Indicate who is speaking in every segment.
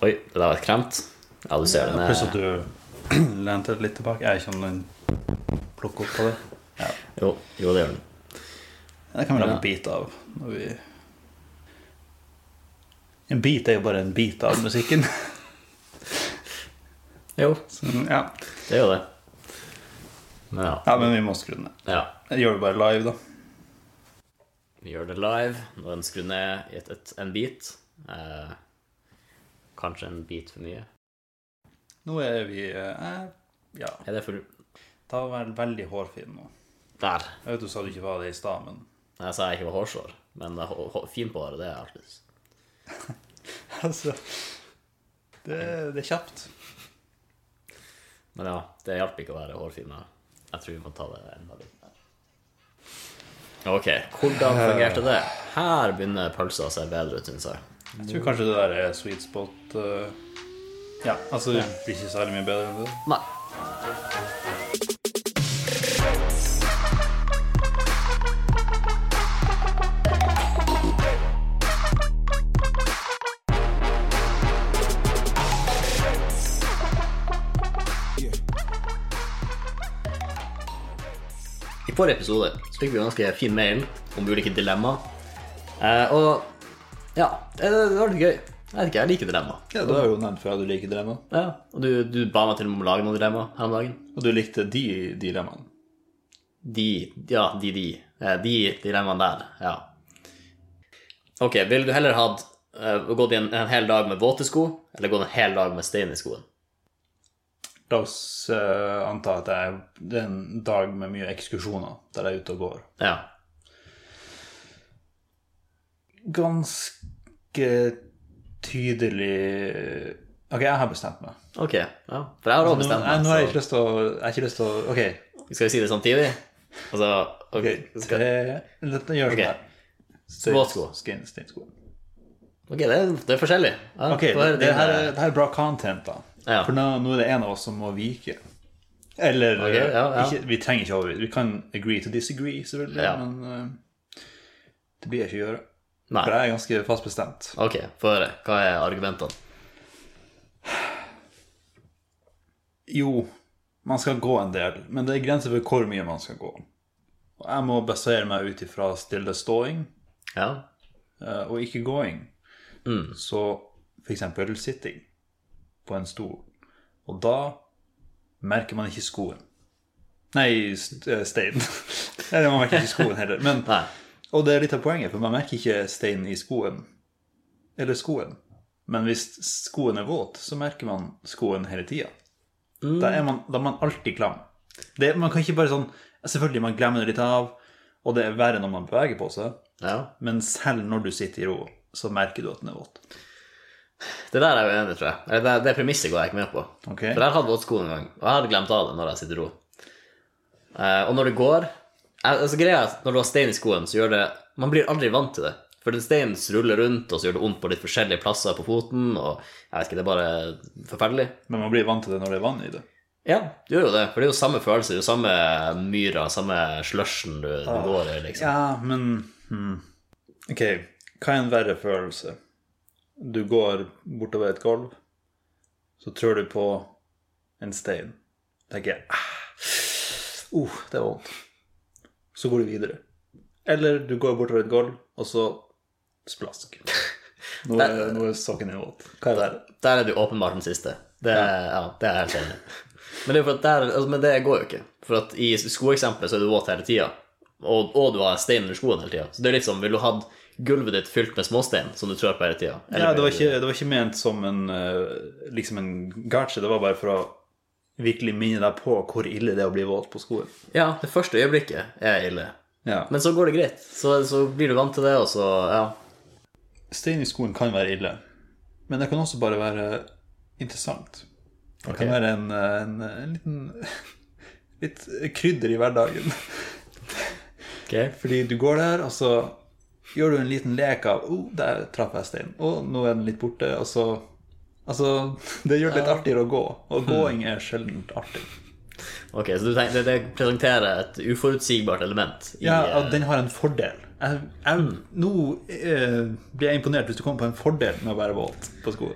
Speaker 1: Oi, det der var et kremt. Ja, du ser den eh,
Speaker 2: Pluss at
Speaker 1: er
Speaker 2: du lente deg litt tilbake. Jeg vet ikke om den plukker opp på det. Ja.
Speaker 1: Jo, jo det gjør den.
Speaker 2: Det kan vi lage
Speaker 1: Ja.
Speaker 2: en bit av når vi En bit er jo bare en bit av musikken.
Speaker 1: Jo,
Speaker 2: Så, ja.
Speaker 1: det gjør det. Men ja.
Speaker 2: ja, men vi må skru den ned.
Speaker 1: ja.
Speaker 2: Jeg gjør det bare live, da.
Speaker 1: Vi gjør det live. Når den skrur ned i et, et, en bit eh, Kanskje en bit for mye.
Speaker 2: Nå er vi eh, Ja.
Speaker 1: Er det for
Speaker 2: Ta vær veldig hårfin nå.
Speaker 1: Der. altså,
Speaker 2: Jeg vet du sa du ikke var det i stad, men
Speaker 1: Jeg sa jeg ikke var hårsår, men det er hå- hå- fin på håret, det er jeg alltid.
Speaker 2: altså det, det er kjapt.
Speaker 1: Men ja, det hjalp ikke å være hårfin. da. Jeg tror vi må ta det enda litt mer. Ok, hvordan fungerte det? Her begynner pølsa å se bedre ut, syns jeg.
Speaker 2: Jeg tror kanskje det der er sweet spot eh, Ja, altså det blir ikke særlig mye bedre enn det.
Speaker 1: Nei. I forrige episode så fikk vi en ganske fin mail om ulike dilemmaer. Eh, og ja, det, det var litt gøy. Jeg vet ikke, jeg liker dilemma.
Speaker 2: Ja, Du har jo nevnt før at du liker dilemma.
Speaker 1: Ja, og du, du ba meg til og med om å lage noen dilemma her om dagen.
Speaker 2: Og du likte de dilemmaene.
Speaker 1: De, ja, de, de. Eh, De dilemmaene der, ja. Ok, ville du heller hatt eh, gått en, en hel dag med våte sko, eller gått en hel dag med stein i skoen?
Speaker 2: La oss eh, anta at jeg, det er en dag med mye ekskursjoner der jeg er ute og går.
Speaker 1: Ja.
Speaker 2: Ganske tydelig Ok, jeg har bestemt meg.
Speaker 1: Ok, ja. For jeg har også
Speaker 2: Nå,
Speaker 1: bestemt
Speaker 2: jeg, nå har
Speaker 1: meg.
Speaker 2: jeg ikke lyst til å Jeg har ikke lyst til å Ok.
Speaker 1: Så, skal vi si det samtidig? Altså, ok. Skal,
Speaker 2: Tre- Dette gjør
Speaker 1: Ok.
Speaker 2: sånn her. Stein-
Speaker 1: Våtsko.
Speaker 2: skin- steinsko.
Speaker 1: ok, det er, det er forskjellig. Ja,
Speaker 2: Ok,
Speaker 1: hva er
Speaker 2: det, det,
Speaker 1: din,
Speaker 2: her,
Speaker 1: eh,
Speaker 2: er- det her er bra content, da.
Speaker 1: Ja.
Speaker 2: For nå, nå er det en av oss som må vike. Eller
Speaker 1: Ok, ja, ja.
Speaker 2: Ikke, Vi trenger ikke overvike. Vi kan agree to disagree, selvfølgelig,
Speaker 1: Ja.
Speaker 2: men eh, det blir jeg ikke å gjøre.
Speaker 1: Nei.
Speaker 2: For jeg er ganske fast bestemt.
Speaker 1: Ok, få høre. Hva er argumentene?
Speaker 2: Jo, man skal gå en del, men det er grenser for hvor mye man skal gå. Og jeg må basere meg ut ifra stille ståing
Speaker 1: Ja.
Speaker 2: eh, og ikke gåing.
Speaker 1: Mm.
Speaker 2: Så f.eks. sitting på en stol. Og da merker man ikke skoen. Nei, st eh, steinen. Nei, man merker ikke skoen heller. Men,
Speaker 1: Nei.
Speaker 2: og det er litt av poenget, for man merker ikke steinen i skoen. Eller skoen. Men hvis skoen er våt, så merker man skoen hele tida. Da, er man- da er man alltid klam. Det, man kan ikke bare sånn Selvfølgelig, man glemmer det litt av, og det er verre når man beveger på seg,
Speaker 1: Ja.
Speaker 2: men selv når du sitter i ro, så merker du at den er våt.
Speaker 1: Det der er jeg uenig i, tror jeg. Eller Det, det premisset går jeg ikke med på.
Speaker 2: Ok.
Speaker 1: For jeg hadde våtsko en gang, og jeg hadde glemt av det når jeg sitter i ro. Eh, og når det går eh, altså greia er at Når du har stein i skoen, så gjør det Man blir aldri vant til det. For den steinen ruller rundt, og så gjør det vondt på litt forskjellige plasser på foten, og jeg vet ikke, det er bare forferdelig.
Speaker 2: Men man blir vant til det når det er vann i det.
Speaker 1: Ja, det gjør jo det. For det er jo samme følelse, det er jo samme myra, samme slushen du, du går i, liksom.
Speaker 2: Ja, men hmm. Ok, hva er en verre følelse? Du går bortover et gulv, så trør du på en stein. Tenker jeg ah, uh, det var vondt. Så går du videre. Eller du går bortover et gulv, og så splask. Nå er, nå er sokken din våt. Hva er verre?
Speaker 1: Der er du åpenbart den siste. Det, ja, det er jeg helt enig i. Men det, er for at der, altså, men det går jo ikke. For at i skoeksempelet så er du våt hele tida, og, og du har stein under skoen hele tida. Så det er litt som vil du hatt gulvet ditt fylt med småstein som du trør på hele tida.
Speaker 2: Ja, det var, ikke, det var ikke ment som en, eh, liksom en gache, det var bare for å virkelig minne deg på hvor ille det er å bli våt på skoen.
Speaker 1: Ja, det første øyeblikket er ille.
Speaker 2: Ja.
Speaker 1: Men så går det greit. Så, så blir du vant til det, og så Ja.
Speaker 2: Stein i skoen kan være ille, men det kan også bare være interessant. Det kan
Speaker 1: Ok.
Speaker 2: være en, eh, en, en liten litt krydder i hverdagen. Fordi du går der, og så gjør du en liten lek av oh, der traff jeg steinen. Å, nå er den litt borte. Og så Altså, det gjør det litt artigere å gå. Og gåing er sjelden artig.
Speaker 1: Ok, så du tenker, det, det presenterer et uforutsigbart element i
Speaker 2: Ja,
Speaker 1: eh, Mm.
Speaker 2: at den har en fordel. Jeg, jeg, nå eh, blir jeg imponert hvis du kommer på en fordel med å være våt på sko.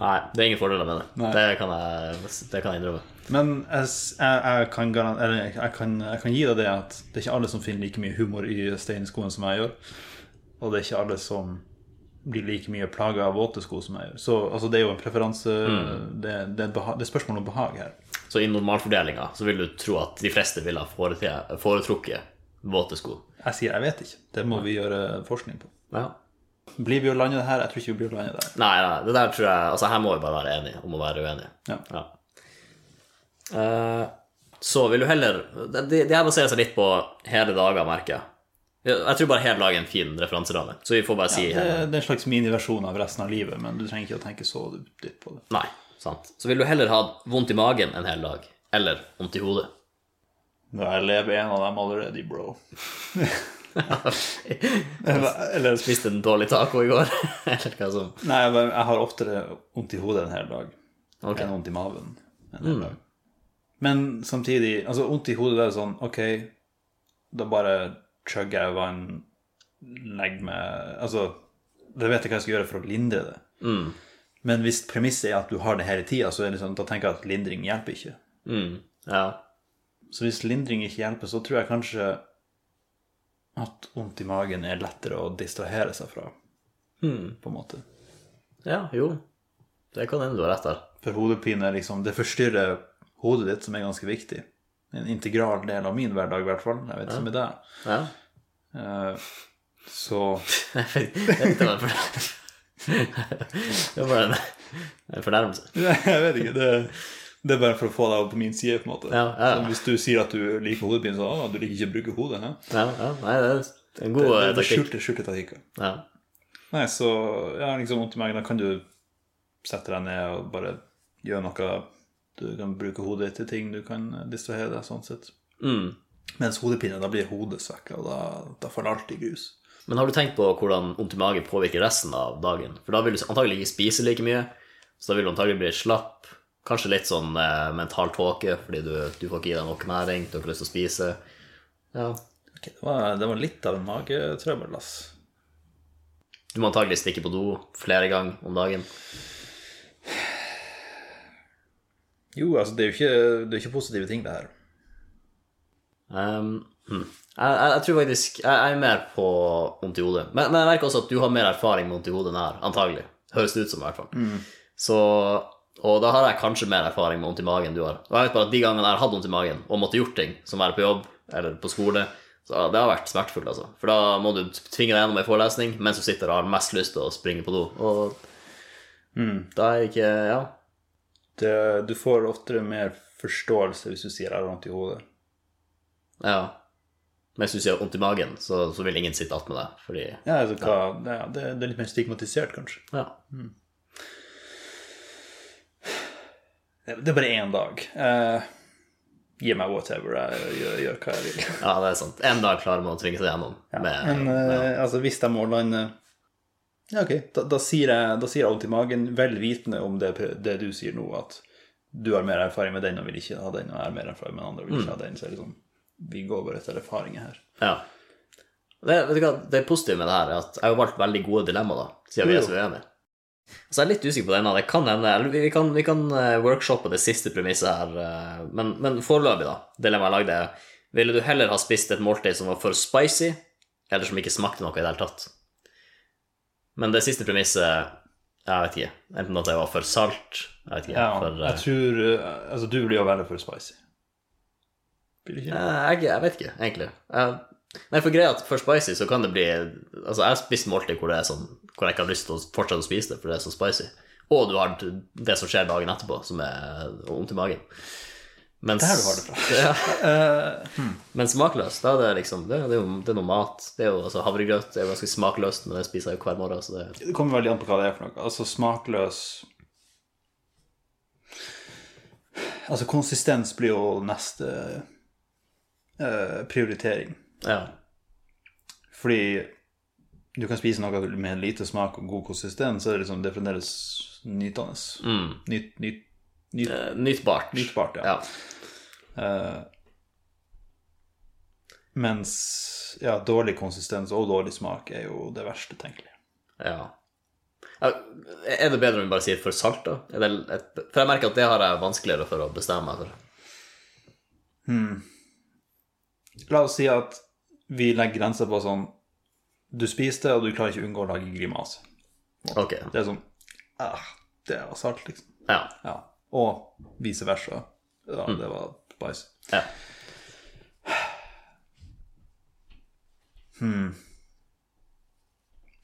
Speaker 1: Nei, det er ingen fordeler med det.
Speaker 2: Nei.
Speaker 1: Det kan jeg, det kan jeg innrømme.
Speaker 2: Men jeg, s- jeg, jeg, kan garan- eller jeg, jeg, kan, jeg kan gi deg det at det er ikke alle som finner like mye humor i steinskoen som jeg gjør. Og det er ikke alle som blir like mye plaga av våte sko som jeg gjør. Så altså, det er jo en preferanse
Speaker 1: Mm.
Speaker 2: det, det, er et beha- det er spørsmål om behag her.
Speaker 1: Så i normalfordelinga så vil du tro at de fleste ville ha forete- foretrukket våte sko.
Speaker 2: Jeg sier jeg vet ikke. Det må vi gjøre forskning på.
Speaker 1: Ja.
Speaker 2: Blir vi å lande det her? Jeg tror ikke vi blir å lande der.
Speaker 1: Nei, nei, det der tror jeg Altså, her må vi bare være enige om å være uenige.
Speaker 2: Ja.
Speaker 1: Eh, så vil du heller Det, det det her baserer seg litt på hele dager, merker jeg. Ja, Jeg tror bare hele dag er en fin referanseramme, så vi får bare si
Speaker 2: Det,
Speaker 1: hele.
Speaker 2: det er en slags miniversjon av resten av livet, men du trenger ikke å tenke så dypt på det.
Speaker 1: Nei, sant. Så vil du heller ha vondt i magen en hel dag, eller vondt i hodet.
Speaker 2: Jeg lever en av dem allerede, bro.
Speaker 1: Spiste
Speaker 2: Eller
Speaker 1: en dårlig taco i går, eller hva som
Speaker 2: Nei, jeg bare- jeg har oftere vondt i hodet en hel dag
Speaker 1: Ok.
Speaker 2: enn vondt i maven. En hel dag. Men samtidig, altså vondt i hodet det er sånn Ok, da bare chugger jeg vann, legger meg Altså, da vet jeg hva jeg skal gjøre for å lindre det. Men hvis premisset er at du har det hele tida, så er det sånn, da tenker jeg at lindring hjelper ikke.
Speaker 1: mm, Ja.
Speaker 2: Så hvis lindring ikke hjelper, så tror jeg kanskje at vondt i magen er lettere å distrahere seg fra,
Speaker 1: Hmm.
Speaker 2: på en måte.
Speaker 1: Ja, jo. Det kan hende du har rett der.
Speaker 2: For hodepine er liksom, det forstyrrer hodet ditt, som er ganske viktig. En integral del av min hverdag, i hvert fall. Jeg vet ikke med deg.
Speaker 1: Ja.
Speaker 2: Eh, Så
Speaker 1: Jeg vet ikke om det er for- Det var en, en fornærmelse.
Speaker 2: Jeg vet ikke. Det, det er bare for å få deg over på min side, på en måte.
Speaker 1: Ja, ja.
Speaker 2: Så Hvis du sier at du liker hodepine, så å, du liker ikke å bruke hodet. Hæ?
Speaker 1: Ja, ja, nei, det er en god eh,
Speaker 2: Det, det er
Speaker 1: taktikk.
Speaker 2: skjulte, skjulte taktikker.
Speaker 1: Ja.
Speaker 2: Nei, så jeg har liksom vondt i magen. Da kan du sette deg ned og bare gjøre noe. Du kan bruke hodet ditt til ting du kan distrahere deg, sånn sett.
Speaker 1: Mm.
Speaker 2: Mens hodepine, da blir hodet svekka, og da, da faller alt i grus.
Speaker 1: Men har du tenkt på hvordan vondt i magen påvirker resten av dagen? For da vil du antagelig ikke spise like mye, så da vil du antagelig bli slapp. Kanskje litt sånn eh, mental tåke, fordi du, du får ikke i deg nok næring, du har ikke lyst til å spise. Ja.
Speaker 2: Ok, det, var, det var litt av en magetrøbbel, ass.
Speaker 1: Du må antagelig stikke på do flere ganger om dagen.
Speaker 2: Jo, altså, det er jo ikke, det er ikke positive ting, det her.
Speaker 1: Ehm, hm. jeg, jeg, jeg tror faktisk jeg, jeg er mer på vondt i hodet. Men, men jeg merker også at du har mer erfaring med vondt i hodet enn jeg har. Antagelig. Høres det ut som, i hvert fall. Så, og da har jeg kanskje mer erfaring med vondt i magen enn du har. Og jeg vet bare at de gangene jeg har hatt vondt i magen og måtte gjort ting, som være på jobb eller på skole, så det har vært smertefullt, altså. For da må du tvinge deg gjennom ei forelesning mens du sitter og har mest lyst til å springe på do. Og da er ikke Ja.
Speaker 2: Det, du får oftere mer forståelse hvis du sier 'jeg har vondt i hodet'.
Speaker 1: ja. Mens du sier vondt i magen, så, så vil ingen sitte attmed deg, fordi
Speaker 2: Ja, altså, hva, ja, det, det er litt mer stigmatisert, kanskje.
Speaker 1: Ja.
Speaker 2: Det, det er bare én dag. Eh, gi meg whatever, jeg gjør, gjør hva jeg vil.
Speaker 1: Ja, det er sant. En dag klarer man å tvinge seg gjennom. Med,
Speaker 2: Men eh, altså, hvis jeg må lande Ja, ok, da, da sier jeg da sier jeg vondt i magen, vel vitende om det, det du sier nå, at du har mer erfaring med den og vil ikke ha den, og jeg har mer erfaring med den andre og vil ikke ha den. Så er det sånn, vi går bare etter erfaringer her.
Speaker 1: ja. det, vet du hva, det positive med det her er at jeg har valgt veldig gode dilemmaer, da, siden vi er så uenige. Så jeg er litt usikker på denne. Det kan hende eller Vi vi kan, vi kan eh, workshoppe det siste premisset her, eh, men, men foreløpig, da. Dilemmaet jeg lagde, er Ville du heller ha spist et måltid som var for spicy, eller som ikke smakte noe i det hele tatt? Men det siste premisset Jeg vet ikke. Enten at det var for salt Jeg vet ikke.
Speaker 2: Ja,
Speaker 1: for, eh,
Speaker 2: jeg tror eh, Altså, du blir jo veldig for spicy. Blir du ikke?
Speaker 1: Eh, Jeg, jeg vet ikke, egentlig. Eh, nei, for greia er at for spicy så kan det bli Altså, jeg har spist måltid hvor, det er sånn, hvor jeg ikke har lyst til å fortsette å spise det, for det er så spicy. Og du har det som skjer dagen etterpå, som er vondt i magen. Mens,
Speaker 2: Der du har det fra.
Speaker 1: Ja,
Speaker 2: Eh,
Speaker 1: men smakløst, da er det liksom Det, det, er, jo, det er noe mat. Det er jo altså havregrøt. Det er jo ganske smakløst, men det spiser jeg jo hver morgen, så det
Speaker 2: Det kommer veldig an på hva det er for noe. Altså smakløs Altså konsistens blir jo neste eh, prioritering.
Speaker 1: Ja.
Speaker 2: Fordi du kan spise noe med lite smak og god konsistens, så er det liksom det er fremdeles nytende.
Speaker 1: Mm.
Speaker 2: Nyt, nyt, nyt,
Speaker 1: Eh, Nytbart.
Speaker 2: nytbart, ja.
Speaker 1: Ja.
Speaker 2: Eh, Mens ja, dårlig konsistens og dårlig smak er jo det verste tenkelige.
Speaker 1: Ja. Ja, Er det bedre om vi bare sier for salt, da? Er det et, for jeg merker at det har jeg vanskeligere for å bestemme altså. meg for.
Speaker 2: La oss si at vi legger grenser på sånn Du spiser det, og du klarer ikke å unngå å lage grimase.
Speaker 1: Ok,
Speaker 2: Det er sånn ah, Det var salt, liksom.
Speaker 1: ja.
Speaker 2: Ja. Og vice versa. Ja, det var bæsj.
Speaker 1: ja.
Speaker 2: Hmm.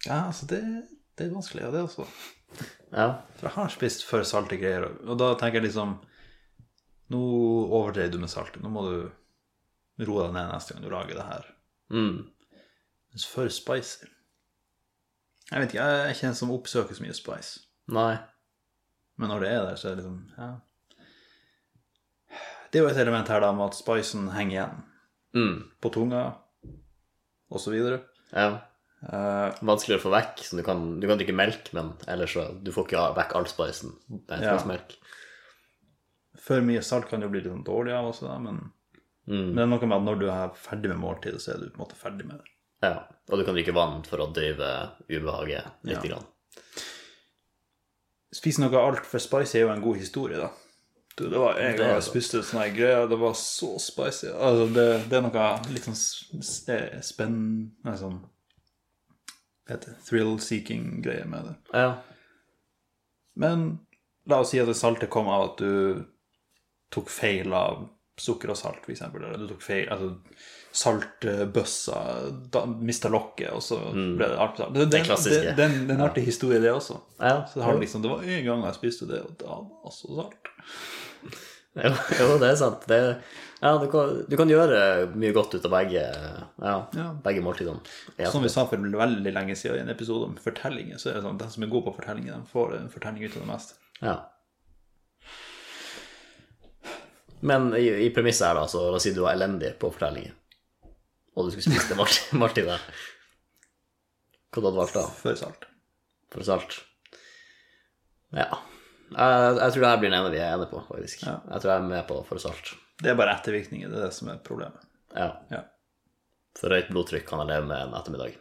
Speaker 2: Ja, altså, det, det er vanskelig, ja, det også.
Speaker 1: ja.
Speaker 2: For jeg har spist for salte greier, og da tenker jeg liksom Nå overdreier du med saltet. Nå må du roe deg ned neste gang du lager det her.
Speaker 1: Mm.
Speaker 2: Mens for spicy Jeg vet ikke, jeg er ikke en som oppsøker så mye spice.
Speaker 1: Nei.
Speaker 2: Men når det er der, så er det liksom ja. Det er jo et element her da med at spicen henger igjen
Speaker 1: Mm.
Speaker 2: på tunga osv.
Speaker 1: Ja.
Speaker 2: Uh,
Speaker 1: Vanskeligere å få vekk. Så du, kan, du kan drikke melk, men ellers så du får ikke vekk all spicen. Det er
Speaker 2: Ja.
Speaker 1: melk.
Speaker 2: for mye salt kan jo bli litt sånn dårlig av også, da, men,
Speaker 1: Mm.
Speaker 2: men det er noe med at når du er ferdig med måltidet, så er du på en måte ferdig med det.
Speaker 1: Ja. Og du kan drikke vann for å døyve ubehaget litt.
Speaker 2: Ja.
Speaker 1: Grann.
Speaker 2: Spise noe altfor spicy er jo en god historie, da. Du, det var en
Speaker 1: Det
Speaker 2: gang
Speaker 1: er
Speaker 2: jeg
Speaker 1: det.
Speaker 2: spiste sånne her greier, det var så spicy. Altså, det, det er noe litt sånn s- s- spenn... Nei, sånn Hva heter det? Thrill-seeking-greier med det.
Speaker 1: Ja.
Speaker 2: Men la oss si at det saltet kom av at du tok feil av sukker og salt, f.eks. Eller du tok feil altså, Saltbøssa da- mista lokket, og så ble det altfor salt. Det, det, det,
Speaker 1: Mm. klassiske.
Speaker 2: det, det er en artig historie, det også.
Speaker 1: ja.
Speaker 2: Så har du liksom, Det var en gang jeg spiste det, og da var det så salt.
Speaker 1: Jo, jo, det er sant. Det, ja, du, kan, du kan gjøre mye godt ut av begge, ja,
Speaker 2: Ja.
Speaker 1: begge måltidene. Ja.
Speaker 2: Som vi sa for veldig lenge siden i en episode om fortellinger, så er det sånn de som er gode på fortellinger, de får en fortelling ut av det meste.
Speaker 1: ja. Men i, i premisset her, da, så la oss si du var elendig på fortellinger, og du skulle spise det malt- måltidet. Hva hadde du valgt da?
Speaker 2: For salt.
Speaker 1: For salt? Ja. Jeg, jeg tror det her blir den ene vi er enige på, faktisk.
Speaker 2: Ja.
Speaker 1: Jeg tror jeg er med på for salt.
Speaker 2: Det er bare ettervirkninger, det er det som er problemet.
Speaker 1: Ja.
Speaker 2: Ja.
Speaker 1: For høyt blodtrykk kan jeg leve med en ettermiddag.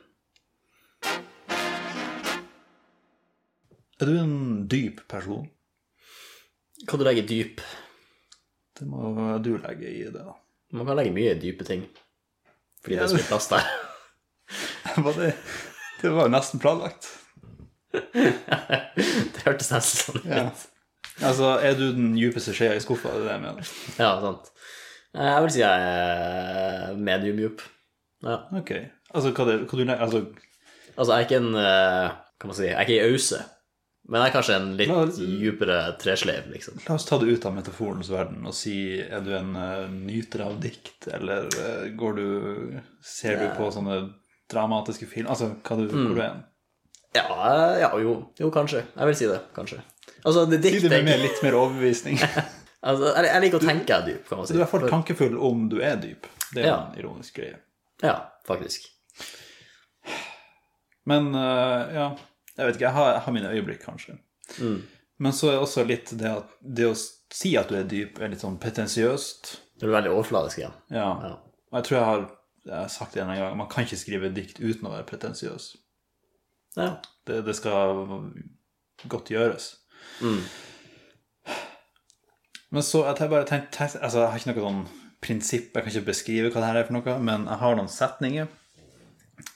Speaker 2: Er du en dyp person?
Speaker 1: Kan du legge dyp
Speaker 2: Det må du legge i det, da.
Speaker 1: Man kan legge mye i dype ting. Fordi det er så mye plass der.
Speaker 2: Var det, det var jo nesten planlagt.
Speaker 1: Det hørtes nesten sånn ut.
Speaker 2: Ja. Altså, er du den djupeste skjea i skuffa? Det er det jeg mener.
Speaker 1: Ja, sant. Eh, Jeg vil si jeg er medium djup. Ja.
Speaker 2: Ok. Altså, hva det, hva du legger altså,
Speaker 1: Altså, jeg er ikke en eh, Hva man si Jeg er ikke ei ause. Men jeg er kanskje en litt
Speaker 2: Hva-
Speaker 1: djupere tresleiv, liksom.
Speaker 2: La oss ta det ut av metaforens verden og si er du en eh, nyter av dikt, eller eh, går du Ser du på sånne dramatiske film Altså, hva du, hvor du er hen?
Speaker 1: Mm. Ja, eh, ja jo, jo, kanskje. Jeg vil si det. Kanskje. Altså, det
Speaker 2: Si det
Speaker 1: dikter
Speaker 2: med mer, litt mer overbevisning.
Speaker 1: altså, jeg, jeg liker å tenke jeg er dyp, kan man
Speaker 2: Du
Speaker 1: si.
Speaker 2: er for tankefull om du er dyp. Det er jo
Speaker 1: Ja.
Speaker 2: en ironisk greie.
Speaker 1: Ja, faktisk.
Speaker 2: Men eh, ja, jeg vet ikke. Jeg har, jeg har mine øyeblikk, kanskje. Men så er også litt det at det å si at du er dyp, er litt sånn pretensiøst.
Speaker 1: Du er veldig overfladisk igjen.
Speaker 2: Ja.
Speaker 1: Ja.
Speaker 2: Og jeg tror jeg har, jeg har sagt det en gang, man kan ikke skrive dikt uten å være pretensiøs.
Speaker 1: Ja.
Speaker 2: Det, det skal godt gjøres. Men så jeg tenker bare tenk, tenk, altså, Jeg har ikke noe sånn prinsipp, jeg kan ikke beskrive hva det her er for noe, men jeg har noen setninger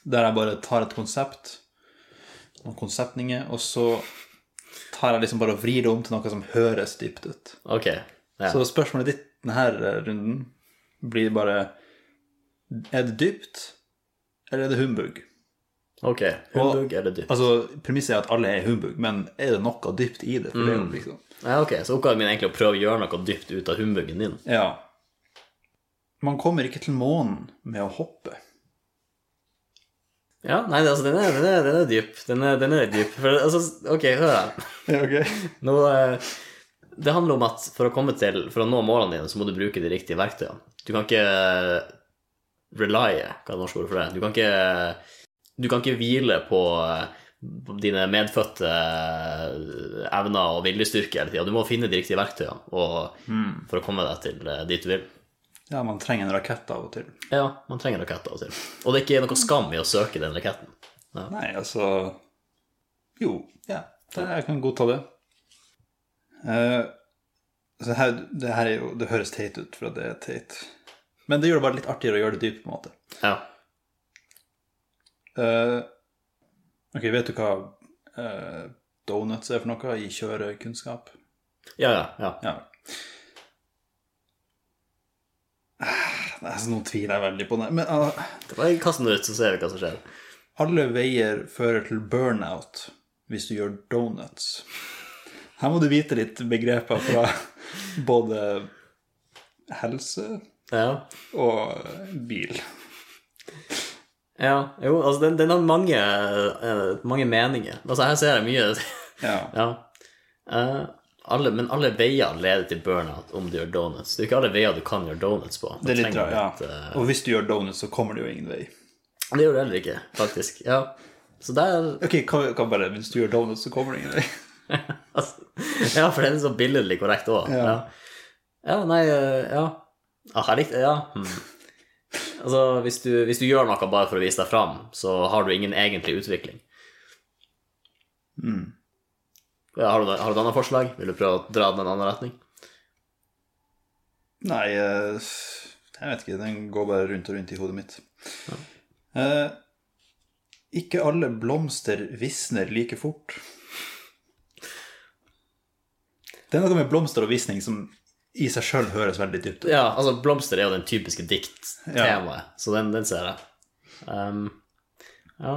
Speaker 2: der jeg bare tar et konsept, noen konseptninger, og så tar jeg liksom bare og vrir det om til noe som høres dypt ut.
Speaker 1: Ok. Ja.
Speaker 2: Så spørsmålet ditt denne eh, runden blir bare Er det dypt, eller er det humbug?
Speaker 1: Ok. Humbug eller dyp?
Speaker 2: Altså, Premisset er at alle er humbug, men er det noe dypt i det? For det er jo liksom...
Speaker 1: Ja, ok, Så oppgaven min er egentlig å prøve å gjøre noe dypt ut av humbugen din.
Speaker 2: Ja. Man kommer ikke til månen med å hoppe.
Speaker 1: Ja, nei, altså, den er, den er, den er dyp. Den er, den er dyp. For, altså, ok, hør her.
Speaker 2: Ja, ok.
Speaker 1: Nå, eh, det handler om at for å komme til, for å nå målene dine, så må du bruke de riktige verktøyene. Du kan ikke relye, hva er det norske ordet for det? Du kan ikke, du kan ikke hvile på eh, dine medfødte evner Hmm. og viljestyrke hele tida. Du må finne de riktige verktøyene og, for å komme deg til eh, dit du vil.
Speaker 2: Ja, man trenger en rakett av og til.
Speaker 1: Ja, man trenger raketter altså. av og til. Og det er ikke noe skam i å søke den raketten. Ja.
Speaker 2: Nei, altså Jo, ja. Det, jeg kan godta det. Eh, så her, det her er jo Det høres teit ut, for at det er teit. Men det gjør det bare litt artigere å gjøre det dypt, på en måte.
Speaker 1: Ja.
Speaker 2: Eh, ok, vet du hva eh, donuts er for noe i kjørekunnskap?
Speaker 1: Ja, ja, ja.
Speaker 2: Ja. Ah, Nei, så nå tviler jeg veldig på det. Men ah,
Speaker 1: Bare kast den ut, så ser vi hva som skjer.
Speaker 2: Alle veier fører til burnout hvis du gjør donuts. Her må du vite litt begreper fra både helse
Speaker 1: Ja.
Speaker 2: og bil.
Speaker 1: ja. Jo, altså, den, den har mange, eh, mange meninger. Altså, her ser jeg mye
Speaker 2: Ja.
Speaker 1: Ja. Eh, alle, men alle veier leder til burnout om du gjør donuts. Det er jo ikke alle veier du kan gjøre donuts på.
Speaker 2: Det er litt
Speaker 1: trenger
Speaker 2: rart, ja.
Speaker 1: litt, eh,
Speaker 2: Og hvis du gjør donuts, så kommer det jo ingen vei.
Speaker 1: Det gjør du heller ikke, faktisk. Ja. Så der
Speaker 2: Ok, kan, kan bare, Hvis du gjør donuts, så kommer det ingen vei.
Speaker 1: altså, Ja, for den er så billedlig korrekt òg.
Speaker 2: Ja.
Speaker 1: Ja. ja, nei eh, Ja. Ah, jeg likte Ja. hm. Altså, hvis du, hvis du gjør noe bare for å vise deg fram, så har du ingen egentlig utvikling.
Speaker 2: Mm.
Speaker 1: Ja, har, du, har du et annet forslag? Vil du prøve å dra den i en annen retning?
Speaker 2: Nei, eh, jeg vet ikke. Den går bare rundt og rundt i hodet mitt. Eh, ikke alle blomster visner like fort. Det er noe med blomster og visning som i seg sjøl høres veldig dypt ut.
Speaker 1: Ja, altså, blomster er jo den typiske dikt-temaet, så den, den ser jeg. Ehm, ja.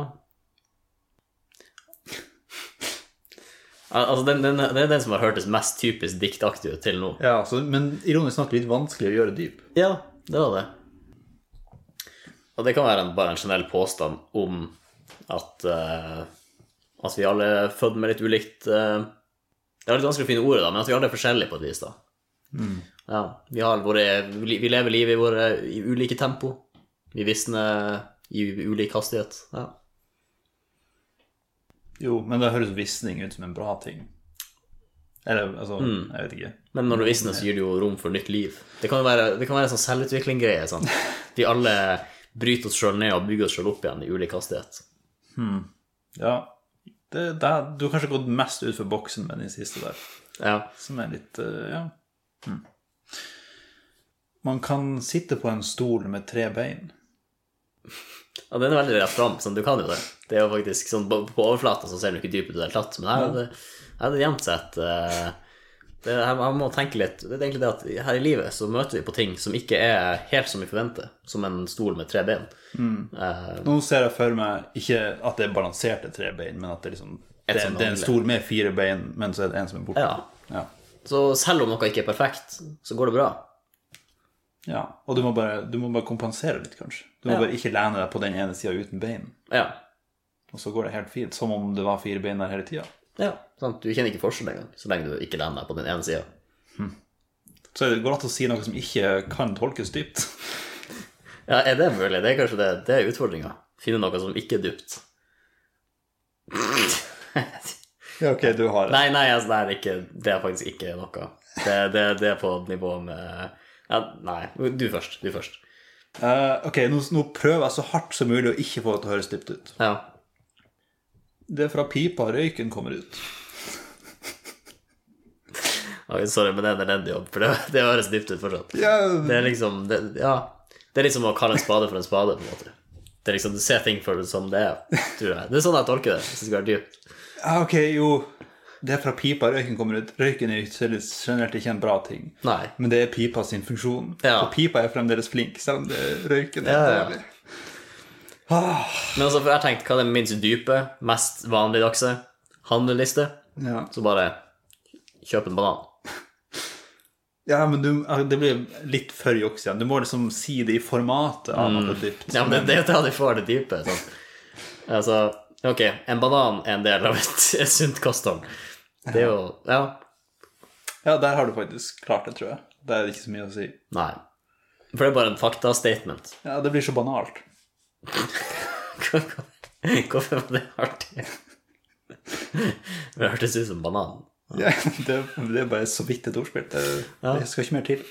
Speaker 1: Al- Altså, den, den, det er den som har hørtes mest typisk diktaktig ut til nå.
Speaker 2: Ja, så, men ironisk nok litt vanskelig å gjøre dyp.
Speaker 1: Ja, det var det. Og det kan være en, bare en generell påstand om at, eh, at vi alle er født med litt ulikt eh, Det er litt vanskelig å finne ordet, da, men at vi alle er forskjellige på et vis. da. Ja, vi, har våre, vi lever livet i våre i ulike tempo. Vi visner i ulik hastighet. Ja.
Speaker 2: Jo, men det høres visning ut som en bra ting. Eller altså, jeg vet ikke.
Speaker 1: Men når du visner, så gir det jo rom for nytt liv. Det kan jo være, det kan være en sånn selvutvikling-greie. Sånn. Vi alle bryter oss sjøl ned og bygger oss sjøl opp igjen i ulik hastighet.
Speaker 2: Ja, det, det, du har kanskje gått mest utfor boksen med den siste der.
Speaker 1: Ja.
Speaker 2: Som er litt eh, Ja. Mm. Man kan sitte på en stol med tre bein.
Speaker 1: Ja, den er veldig rett fram, sånn, du kan jo det. Det er jo faktisk sånn, På på overflaten så ser den jo ikke dyp ut i det hele tatt, men her er det, her er det jevnt sett eh, det, her, Man må tenke litt Det er egentlig det at her i livet så møter vi på ting som ikke er helt som vi forventer, som en stol med tre ben. Eh,
Speaker 2: Nå ser jeg for meg ikke at det er balanserte tre bein, men at det er liksom
Speaker 1: Et
Speaker 2: det,
Speaker 1: som
Speaker 2: det er en
Speaker 1: mangler.
Speaker 2: stol med fire bein, men så er det en som er borte.
Speaker 1: ja.
Speaker 2: Ja.
Speaker 1: Så selv om noe ikke er perfekt, så går det bra.
Speaker 2: Ja, Og du må, bare, du må bare kompensere litt, kanskje. Du må
Speaker 1: Ja.
Speaker 2: bare ikke lene deg på den ene sida uten bein.
Speaker 1: Ja.
Speaker 2: Og så går det helt fint, som om det var fire bein der hele tida.
Speaker 1: ja sant? Du kjenner ikke forskjell engang, så lenge du ikke lener deg på den ene sida.
Speaker 2: Så det går an å si noe som ikke kan tolkes dypt.
Speaker 1: Ja, er det mulig? Det er kanskje det, det er utfordringa. Finne noe som ikke er dypt.
Speaker 2: Ja, ok, du har
Speaker 1: Nei, nei, altså, det, er ikke, det er faktisk ikke noe. Det, det, det er på nivå med ja, Nei, du først. Du først.
Speaker 2: Eh, ok, nå, nå prøver jeg så hardt som mulig å ikke få det til å høres dypt ut.
Speaker 1: Ja.
Speaker 2: Det er fra pipa røyken kommer ut.
Speaker 1: Ok, sorry, men det er en elendig jobb, for det, det høres dypt ut fortsatt.
Speaker 2: Ja,
Speaker 1: Det er liksom det, Ja. Det er liksom å kalle en spade for en spade, på en måte. Det er liksom, Du ser ting for det som det er, tror jeg. Det er sånn jeg tolker det, hvis det skal være dypt.
Speaker 2: ja, ok, jo. Det er fra pipa røyken kommer ut. Røyken er jo selv- generelt ikke en bra ting.
Speaker 1: Nei.
Speaker 2: Men det er pipa sin funksjon.
Speaker 1: Ja.
Speaker 2: Så pipa er fremdeles flink, selv om det er røyken.
Speaker 1: Ja,
Speaker 2: er
Speaker 1: ja.
Speaker 2: dårlig. Ah,
Speaker 1: Men altså, for jeg tenkte, hva er det minst dype, mest vanligdagse? Handleliste?
Speaker 2: ja.
Speaker 1: Så bare kjøp en banan.
Speaker 2: ja, men du, ah, det blir litt for juks igjen. Du må liksom si det i formatet av noe dypt.
Speaker 1: Mm. Ja, men det er jo da du får det dype. Sant? Altså, ok, en banan er en del av et, et sunt kosthold. Det er jo Ja.
Speaker 2: Ja, der har du faktisk klart det, tror jeg. Det er ikke så mye å si.
Speaker 1: Nei. For det er bare en faktastatement.
Speaker 2: Ja, det blir så banalt.
Speaker 1: Hvorfor var det artig? Det hørtes ut som banan.
Speaker 2: Ja, det, det er bare så vidt et ordspill. Det,
Speaker 1: Ja.
Speaker 2: det skal ikke mer til.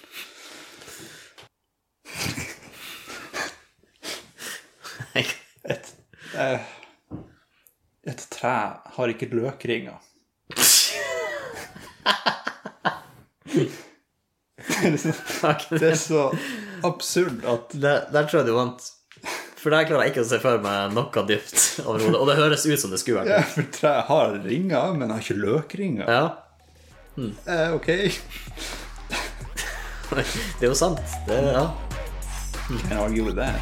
Speaker 2: Eh, Et tre har ikke løkringer. det er så absurd at
Speaker 1: Der, der tror jeg du vant. For der klarer jeg ikke å se for meg noe dypt overhodet. Og det høres ut som det skulle vært.
Speaker 2: ja, for tre har ringer, men har ikke løkringer.
Speaker 1: Ja.
Speaker 2: Eh, ok.
Speaker 1: Det er jo sant. Det, ja.
Speaker 2: Can't argue with that.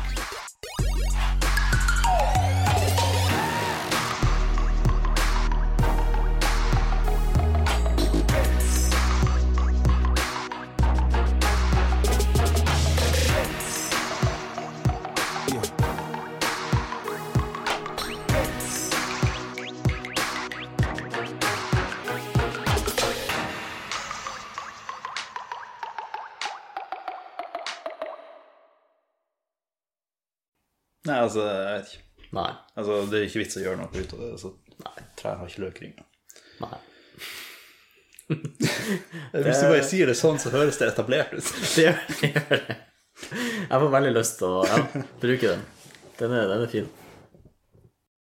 Speaker 2: Nei, altså, jeg vet ikke.
Speaker 1: Nei.
Speaker 2: Altså, Det er ikke vits å gjøre noe ut av det. Så trær har ikke løkringer.
Speaker 1: Nei.
Speaker 2: Eh, Hvis du bare sier det sånn, så høres det etablert ut.
Speaker 1: Det gjør det. gjør det. Jeg får veldig lyst til å ja, bruke den. Den er, den er fin.